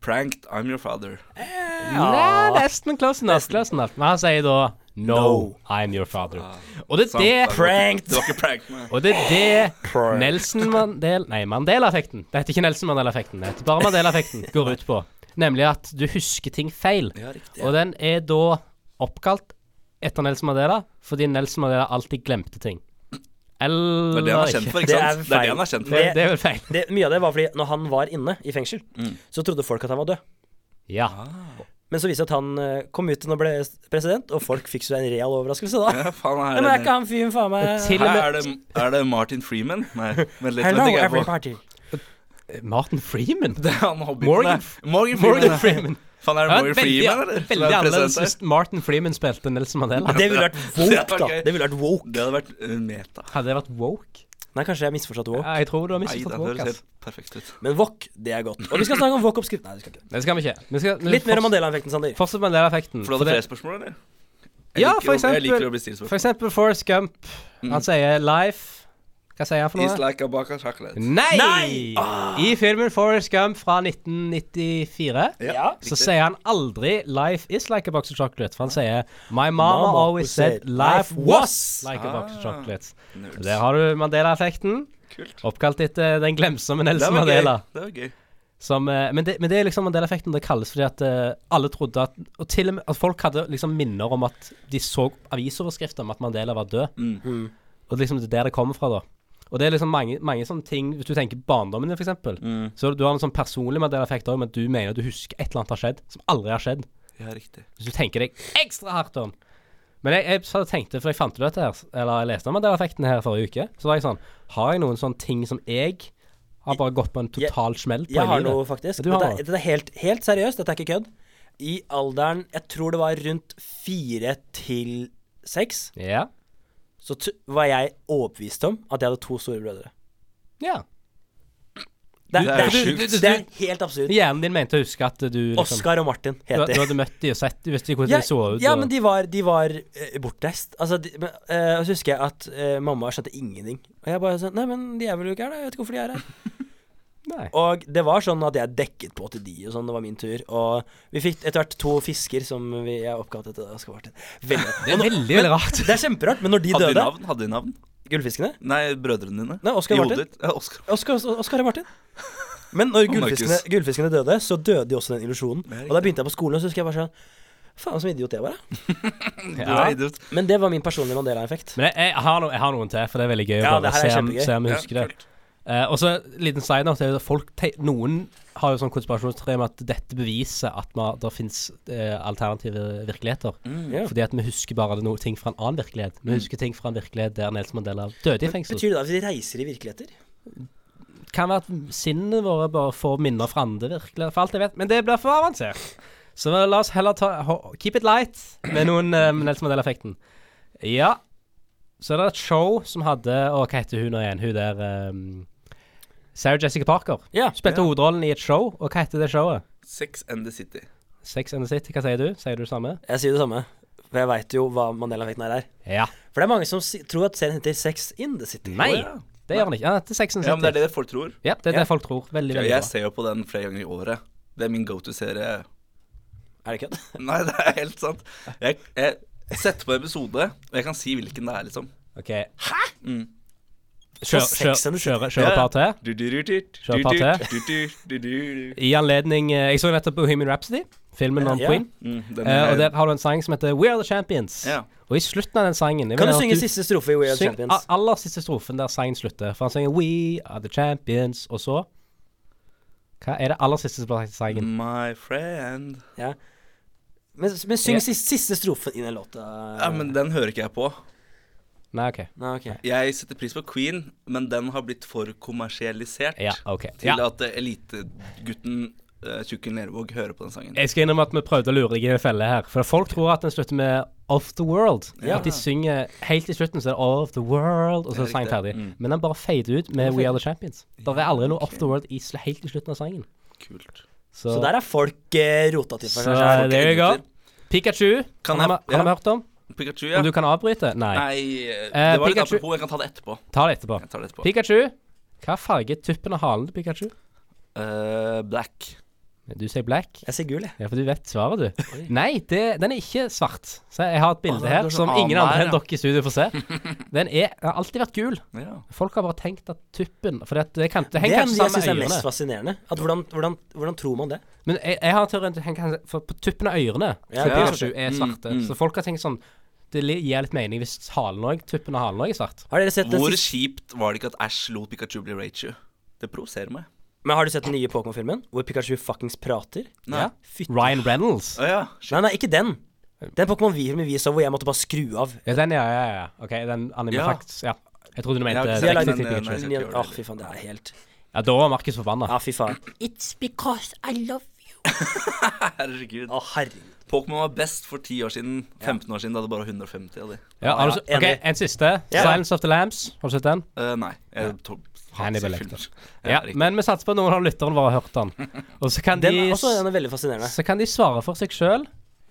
S3: 'Pranked, I'm your father'.
S2: Nei, nesten close enough. Close enough. Men han sier da no,
S1: No.
S2: I'm your father. Og det
S3: Ah, Sant,
S2: er
S3: det
S2: det
S3: var ikke-
S1: pranked.
S3: Det var ikke pranked, nei.
S2: og det er det
S1: Pranked.
S2: Nelson Mandela Nei, Mandela-effekten. Det heter ikke Nelson Mandela-effekten. Det heter bare Mandela-effekten går ut på. Nemlig at du husker ting feil.
S3: Ja, riktig.
S2: Og den er da oppkalt etter Nelson Mandela fordi Nelson Mandela alltid glemte ting.
S3: Det
S2: Eller
S3: er det han er kjent for, ikke
S1: Det er
S3: sant? Det er det
S1: feil.
S3: han er kjent for.
S2: Det, det er vel feil.
S1: Det, mye av det var fordi når han var inne i fengsel, så trodde folk at han var død.
S2: Ja.
S1: Men så viste det seg at han eh, kom ut og ble president, og folk fikk seg en real overraskelse da.
S3: Ja, faen,
S1: Ja, Men er
S3: her,
S1: ikke han fyren faen meg
S2: Til og
S3: Ah. her er,
S2: med
S3: det, er det Martin Freeman? Nei, vent litt.
S1: Hello,
S3: vent, ikke jeg på.
S1: everybody.
S2: Martin Freeman.
S3: Det er han hobbiten
S2: Morgan-
S3: der. Morgan Freeman.
S2: Morgan
S3: ja.
S2: Freeman.
S3: Faen, er det
S2: Ja,
S3: Morgan
S2: veldig
S3: Freeman, eller? Som
S2: veldig
S3: er president
S2: annerledes hvis Martin Freeman spilte Nelson Mandela.
S1: Det ville vært
S3: Det
S1: woke,
S3: var
S1: da.
S3: gøy.
S1: Det ville vært
S3: der?
S1: woke.
S3: Det hadde vært uh, meta.
S2: Hadde det vært woke?
S1: Nei, kanskje jeg misforstått woke.
S2: Ja, jeg tror du har
S3: Nei, det
S2: misforstått woke.
S3: høres
S2: ass.
S3: helt perfekt ut.
S1: Men wok, det er godt. Og vi skal snakke om wok-oppskrift. Nei, vi skal ikke.
S2: Det skal vi ikke. Vi skal, vi
S1: Litt mer
S2: forts-
S1: om Mandela-effekten, Sander.
S2: Fortsett med Mandela-effekten.
S3: For du
S2: for
S3: hadde
S2: det-
S3: flere spørsmål, eller? Jeg
S2: Ja,
S3: liker
S2: for
S3: å- Jeg
S2: eksempel,
S3: liker å bli Mm. stilt
S2: for
S3: spørsmål.
S2: eksempel Forrest Gump. Han sier 'life'. Hva sier han for noe?
S3: It's like a baka chocolate.
S1: Mm.
S2: Nei!
S1: Nei!
S2: I filmen Forrest Gump fra 1994
S1: Ja.
S2: så
S3: riktig.
S2: sier han aldri 'Life is like a box of chocolate'. For han sier 'My mama
S1: Mama
S2: always said life was like a
S3: Ah.
S2: box of chocolate'.
S3: Nerds.
S2: Der har du Mandela-effekten.
S3: Kult.
S2: Oppkalt etter den glemsomme
S3: Det
S2: Nelson
S3: var gøy.
S2: Mandela.
S3: Det var gøy.
S2: Som, eh, men, det, men det er liksom en del av effekten det kalles fordi at eh, alle trodde at Og til og med at folk hadde liksom minner om at de så avisoverskrifter om at Mandela var død. Og det er liksom det er der det kommer fra, da. Og det er liksom mange, mange sånne ting Hvis du tenker barndommen din, for eksempel Så du har en sånn personlig Mandela-effekt òg, men du mener du husker et eller annet har skjedd som aldri har skjedd.
S3: Ja, riktig.
S2: Hvis du tenker deg ekstra hardt om. Men jeg, jeg så tenkte, for jeg fant ut dette her, eller jeg leste om Mandela-effekten her forrige uke, så var jeg sånn Har jeg noen sånne ting som jeg har bare gått på en
S1: Jeg-
S2: total smell på i
S1: Jeg har
S2: livet?
S1: noe, faktisk.
S2: Du har
S1: Dette,
S2: noe.
S1: dette er helt, helt seriøst, dette er ikke kødd. I alderen jeg tror det var rundt fire til seks,
S2: Ja.
S1: så t var jeg overbevist om at jeg hadde to store brødre.
S2: Ja.
S1: Det,
S3: Det
S1: er-
S3: er
S1: det,
S3: jo
S1: er-
S3: sjukt.
S1: det, det er helt absurd.
S2: Hjernen din mente å huske at du liksom,
S1: Oskar og Martin
S2: du,
S1: heter
S2: du hadde møtt de og sett de, visste de hvordan
S1: Ja,
S2: de så ut.
S1: ja
S2: og-
S1: men de var, de var eh, bortreist. Altså, de, men, eh, og så husker jeg at eh, mamma skjønte ingenting. Og jeg bare sånn Nei, men de er vel ikke her, da? Jeg vet ikke hvorfor de er her.
S2: Nei.
S1: Og det var sånn at jeg dekket på til de, og sånn, det var min tur. Og vi fikk etter hvert to fisker som vi er oppkalt etter Oskar Martin. Veldig.
S2: Det er veldig, veldig rart.
S1: Det er kjemperart, men når de
S3: Hadde de
S1: døde
S3: navn? Hadde de navn?
S1: Gullfiskene?
S3: Nei, brødrene dine.
S1: Nei, Oscar
S3: I
S1: Martin.
S3: hodet ditt. Ja, Oscar.
S1: Oskar Oskar og Martin. Men når
S3: Markus.
S1: gullfiskene, gullfiskene døde, så døde jo også den illusjonen. Og
S3: riktig.
S1: da begynte jeg på skolen, og så husker jeg bare sånn Faen, som idiot jeg var. jeg."
S3: Du er idiot.
S1: Men det var min personlige Mandela-effekt.
S2: Men jeg, jeg, har no, jeg har noen til, for det er veldig gøy
S1: Ja,
S2: å
S1: det
S2: bare
S1: her
S2: se
S1: er
S2: om,
S1: kjempegøy.
S2: se om jeg
S3: Ja,
S2: husker det. Eh, og så en liten side note. er jo at Folk te noen har jo sånn konspirasjonsteori om at dette beviser at man, det fins eh, alternative virkeligheter.
S3: Mm.
S1: Ja.
S2: Fordi at vi husker bare noe, ting fra en annen virkelighet. Vi husker ting fra en virkelighet der Nelson Mandela døde i fengsel.
S1: Betyr det da at vi reiser i virkeligheter?
S2: kan være at sinnet vårt bare får minner fra andre, virkelig, for alt jeg vet. Men det blir for avansert. Så la oss heller ta ho- Keep it light med noen eh, Nelson Mandela-effekten. Ja. Så er det et show som hadde Å, hva heter hun nå igjen? Hun der ehm, Sarah Jessica Parker.
S1: Ja.
S2: Spilte hovedrollen i et show, og hva heter det showet?
S3: Sex and the City.
S2: Sex and the City, hva sier du? Sier du det samme?
S1: Jeg sier det samme. For jeg veit jo hva Mandela-effekten her er.
S2: Ja.
S1: For det er mange som si tror at serien heter Sex in the City.
S2: Nei, det gjør han ikke. Ja, det er 76.
S3: Ja, men det er det folk tror.
S2: Ja, det er det folk tror. Veldig, veldig bra.
S3: Jeg ser jo på den flere ganger i året. Det er min go to-serie.
S1: Er det kødd?
S3: Nei, det er helt sant. Jeg, jeg setter på en episode, og jeg kan si hvilken det er, liksom.
S2: Ok. Hæ? Kjør,
S1: Så
S2: kjør,
S1: Sex and the
S2: kjør, kjør et par til. Kjør et par til.
S3: til.
S2: I anledning eh, Jeg så nettopp Bohemian Rhapsody, filmen om
S1: Ja.
S2: Queen.
S3: Mm, Den
S2: Eh, og
S3: er
S2: der har du en sang som heter We Are The Champions.
S3: Ja.
S2: Og i slutten av den sangen jeg
S1: Kan
S2: vil
S1: du
S2: at
S1: synge siste strofe i We Are
S2: syng Ah.
S1: Champions?
S2: a- aller siste strofen der sangen slutter. For han synger We Are The Champions, og så Hva er det aller siste som blir sagt i sangen?
S3: My friend
S1: Ja. Men, men syng
S2: Ja.
S1: siste, siste strofen i den låta.
S3: Ja, men den hører ikke jeg på.
S2: Nei, OK.
S1: Nei, ok.
S3: Jeg setter pris på Queen, men den har blitt for kommersialisert
S2: Ja, ok.
S3: til
S2: Ja.
S3: at eh, elitegutten eh, Tjukken Lervåg hører på den sangen.
S2: Jeg skal innrømme at vi prøvde å lure deg i en felle her. For folk tror at den slutter med Of The World. At de synger helt i slutten, så er det Of The World, og så er
S3: Det er
S2: sangen
S3: riktig. Mm.
S2: ferdig. Men den bare fader ut med We Are The Champions. Det er aldri noe Of The World i, sl- helt i slutten av sangen.
S3: Kult.
S1: Så der er folk eh, rota til for seg
S2: Så
S1: selv.
S2: there you go.
S3: idioter.
S2: Pikachu
S3: Kan
S2: har
S3: jeg-
S2: vi- har vi
S3: ja.
S2: hørt om.
S3: Pikachu, ja.
S2: Om du kan avbryte? Nei.
S3: Nei, eh,
S2: Eh,
S3: det var litt
S2: Pikachu-
S3: apropos. Jeg kan ta det etterpå.
S2: Ta det etterpå.
S3: Jeg tar det etterpå.
S2: Pikachu. Hva farge er tuppen av halen til Pikachu?
S3: Eh, black.
S2: Du sier black.
S1: Jeg ser gul, jeg.
S2: Ja, for du vet svaret, du. Nei, det, den er ikke svart. Så jeg har et bilde her
S3: går sånn
S2: som ingen
S3: an
S2: andre
S3: her,
S2: enn
S3: ja.
S2: dere i studio får se. Den er, den har alltid vært gul.
S3: Ja.
S2: Folk har bare tenkt at tuppen For det, det, kan, det
S1: Det
S2: henger
S1: er,
S2: kanskje
S1: jeg syns er
S2: sammen med
S1: mest
S2: ørene.
S1: fascinerende. At hvordan, hvordan, hvordan tror man det?
S2: Men jeg, jeg har teorien til at den kan- For på tuppen av ørene
S1: Ja,
S2: til
S1: ja.
S2: Pikachu er
S1: Mm,
S2: svarte. Så folk har tenkt sånn Det li- gir litt mening hvis halen òg, tuppen av halen òg er svart.
S1: Har dere sett den,
S3: Hvor
S1: siste,
S3: kjipt var det ikke at Ash lot Pikachu bli Raichu? Det provoserer meg.
S1: men har du sett den nye Pokémon-filmen? Hvor Pikachu fuckings prater?
S3: Nei.
S1: Ja. Fytti
S2: Ryan Reynolds.
S3: Å ja.
S1: Nei, nei, ikke den. Den Pokémon vi vi så hvor jeg måtte bare skru av.
S2: Ja, den, ja, ja, ja. Ok, den anime
S3: Ja.
S2: facts, ja. Jeg trodde du mente ja,
S3: Ja, ikke
S1: Vi har
S3: sant,
S1: lagd
S2: direkte
S1: den
S2: til
S1: Åh,
S2: Pikachu.
S3: men, nei, nei, jeg skal ikke gjøre det.
S1: fy faen, det er helt
S2: Ja, da var Markus forbanna.
S1: Ja, fy faen.
S5: It's because I love you.
S3: Herregud.
S1: Å, herregud.
S3: Pokémon var best for 10 år siden. 15 år siden da hadde bare 150 av de.
S2: Ja, har du s-
S1: ja,
S2: ok,
S1: enig.
S2: En siste.
S1: Ja.
S2: Silence of the Lambs. Har du sett den?
S3: Eh, nei. Jeg to-
S2: Hannibal
S3: hater
S2: Lecter.
S3: filmer.
S2: Ja,
S3: riktig.
S2: Men vi satser på at noen av lytterne våre har hørt den. Og så kan,
S1: Den
S2: de,
S1: er
S2: s-
S1: også den er veldig fascinerende.
S2: så kan de svare for seg sjøl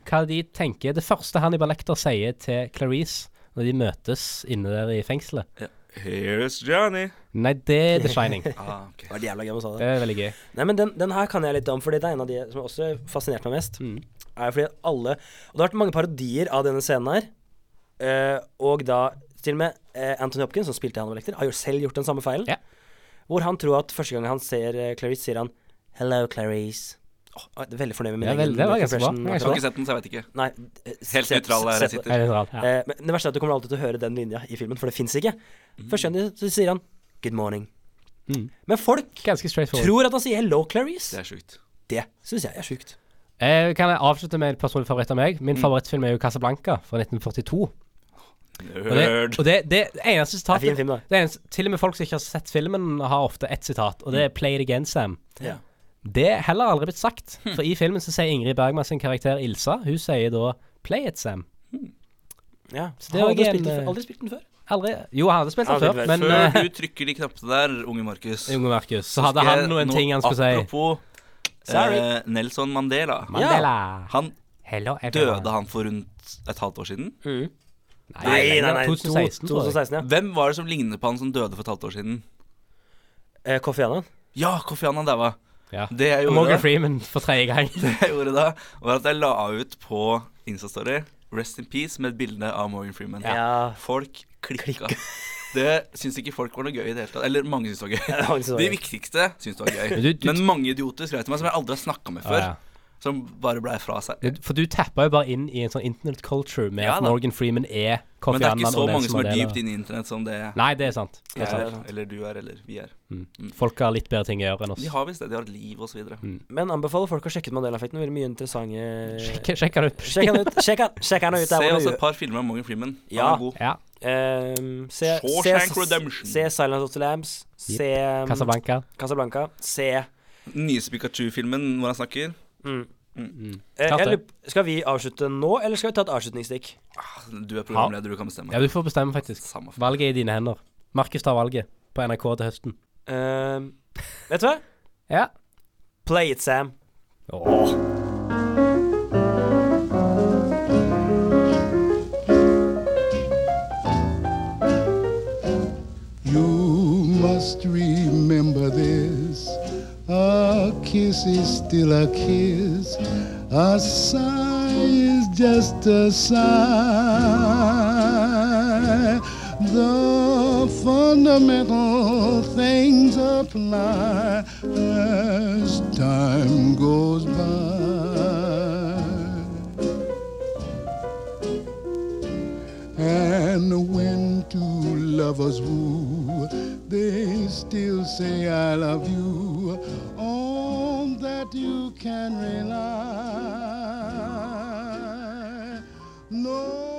S2: hva de tenker. Det første Hannibal Lecter sier til Clarice når de møtes inne der i fengselet
S3: Ja. Here's Johnny.
S2: Nei, det er The Shining. Det
S3: Ah, ok.
S1: Det var jævla gøy om hun sa det.
S2: er veldig gøy.
S1: Nei, men den, den her kan jeg litt om, fordi det er en av de som også fascinerte meg mest.
S2: Mm.
S1: Er fordi at alle Og det har vært mange parodier av denne scenen her. eh, og da til og med eh, Anthony Hopkins, som spilte Hannibal Lecter, har jo selv gjort den samme feilen.
S2: Ja.
S1: Hvor han tror at første gang han ser eh, Clarice, sier han 'Hello, Clarice'. Åh, jeg er veldig fornøyd med min
S2: Ja, vel, det var ganske bra.
S1: impression
S2: Det var
S1: akkurat
S2: ganske
S3: Jeg
S1: nå.
S3: har ikke sett den, så jeg vet ikke.
S1: Nei, eh,
S3: Helt
S1: sett-
S3: nøytral der jeg
S1: sett-
S3: sitter.
S2: Er det bra? Ja.
S1: Eh, men det verste er at du kommer alltid til å høre den linja i filmen, for det fins ikke. Første gang så sier han 'good morning'.
S2: Mm.
S1: Men folk
S2: Ganske straight forward.
S1: tror at han sier 'hello, Clarice'.
S3: Det er sjukt.
S1: Det syns jeg er sjukt.
S2: Eh, kan jeg avslutte med en personlig favoritt av meg?
S1: Mm.
S2: Min favorittfilm er jo Casablanca fra 1942. Og det,
S3: Nerd.
S2: og det, det eneste sitatet
S1: Det er fin film, da.
S2: det eneste, Til og med folk som ikke har sett filmen, har ofte ett sitat, og
S1: Mm.
S2: det er 'Play it again, Sam'.
S1: Ja.
S2: Det er heller aldri blitt sagt. For i filmen så sier Ingrid Bergman sin karakter Ilsa, hun sier da 'Play it, Sam'.
S1: Ja. har
S2: det var
S1: aldri,
S2: ikke
S1: spilt den,
S2: en,
S1: før- aldri spilt den før.
S2: Aldri Jo, han hadde spilt den
S1: Aldri
S2: før,
S1: vært
S2: men
S3: Før
S2: eh,
S3: du trykker de knappene der, unge Markus
S2: Unge Markus, så hadde han noen ting han skulle si.
S3: Apropos
S1: Sorry.
S3: eh, Nelson Mandela.
S2: Mandela.
S3: Han
S2: Hello, everyone.
S3: døde han for rundt et halvt år siden.
S2: Nei, nei, nei. 2016, tror jeg.
S1: 2016, ja.
S3: Hvem var det som lignet på han som døde for et halvt år siden?
S1: Eh, Kofi Annan.
S3: Ja, Kofi Annan daua.
S2: Ja.
S3: Det jeg gjorde
S2: Morgan
S3: da,
S2: Freeman for tredje gang.
S3: det jeg gjorde da, var at jeg la ut på Instastory Rest in peace med et bilde av Morgan Freeman.
S1: Ja.
S3: Folk klikka. Det syns ikke folk var noe gøy i det hele tatt. Eller mange syns det var
S1: mange synes det
S3: gøy.
S1: var
S3: De
S1: gøy.
S3: viktigste syns det var gøy.
S2: Men du- du-
S3: Men mange idioter skrev til meg som jeg aldri har snakka med før.
S2: Ja, ja.
S3: Som bare blei fra seg.
S2: Du- For du tappa jo bare inn i en sånn internet culture med
S3: Ja
S2: at
S3: da.
S2: Morgan Freeman er Kofi
S3: Men det er ikke
S2: Annan
S3: så
S2: og
S3: mange
S2: Nelson
S3: som er
S2: Mandela.
S3: dypt inne i internett som det
S2: Nei, det er sant. Det er
S3: jeg
S2: sant.
S3: er. Eller du er, eller vi er.
S2: Folk har litt bedre ting å gjøre enn oss.
S3: De har visst det. De har et liv osv.
S2: Mm.
S1: Men anbefaler folk å sjekke ut Mandela-effekten. Veldig mye interessante
S2: Sjekk sjekk han ut.
S1: Sjekk han ut. Sjekk han, sjekk han ut.
S3: Se
S1: Det er
S3: også
S1: vår
S3: et par filmer av Morgan Freeman. Han
S1: Ja.
S3: er god.
S2: Ja.
S1: Um, se, se,
S3: Shawshank Redemption.
S1: se Silence of the Lambs. Se um,
S2: Casablanca.
S1: Casablanca. Se eh,
S3: Den nyeste Pikachu-filmen hvor han snakker.
S2: Klart
S1: eh, jeg,
S2: det.
S1: lurer- Skal vi avslutte nå, eller skal vi ta et avslutningsstikk?
S3: Ah, Du er programleder, du kan bestemme.
S2: Ja, du får bestemme, faktisk.
S3: Samme faen.
S2: Valget er i dine hender. Markus tar valget på NRK til høsten.
S1: Um, vet du hva?
S2: Ja.
S1: Play it, Sam.
S2: Åh.
S6: Just remember this a kiss is still a kiss, a sigh is just a sigh. The fundamental things apply as time goes by. And when two lovers woo, they still say I love you. On that you can rely. No.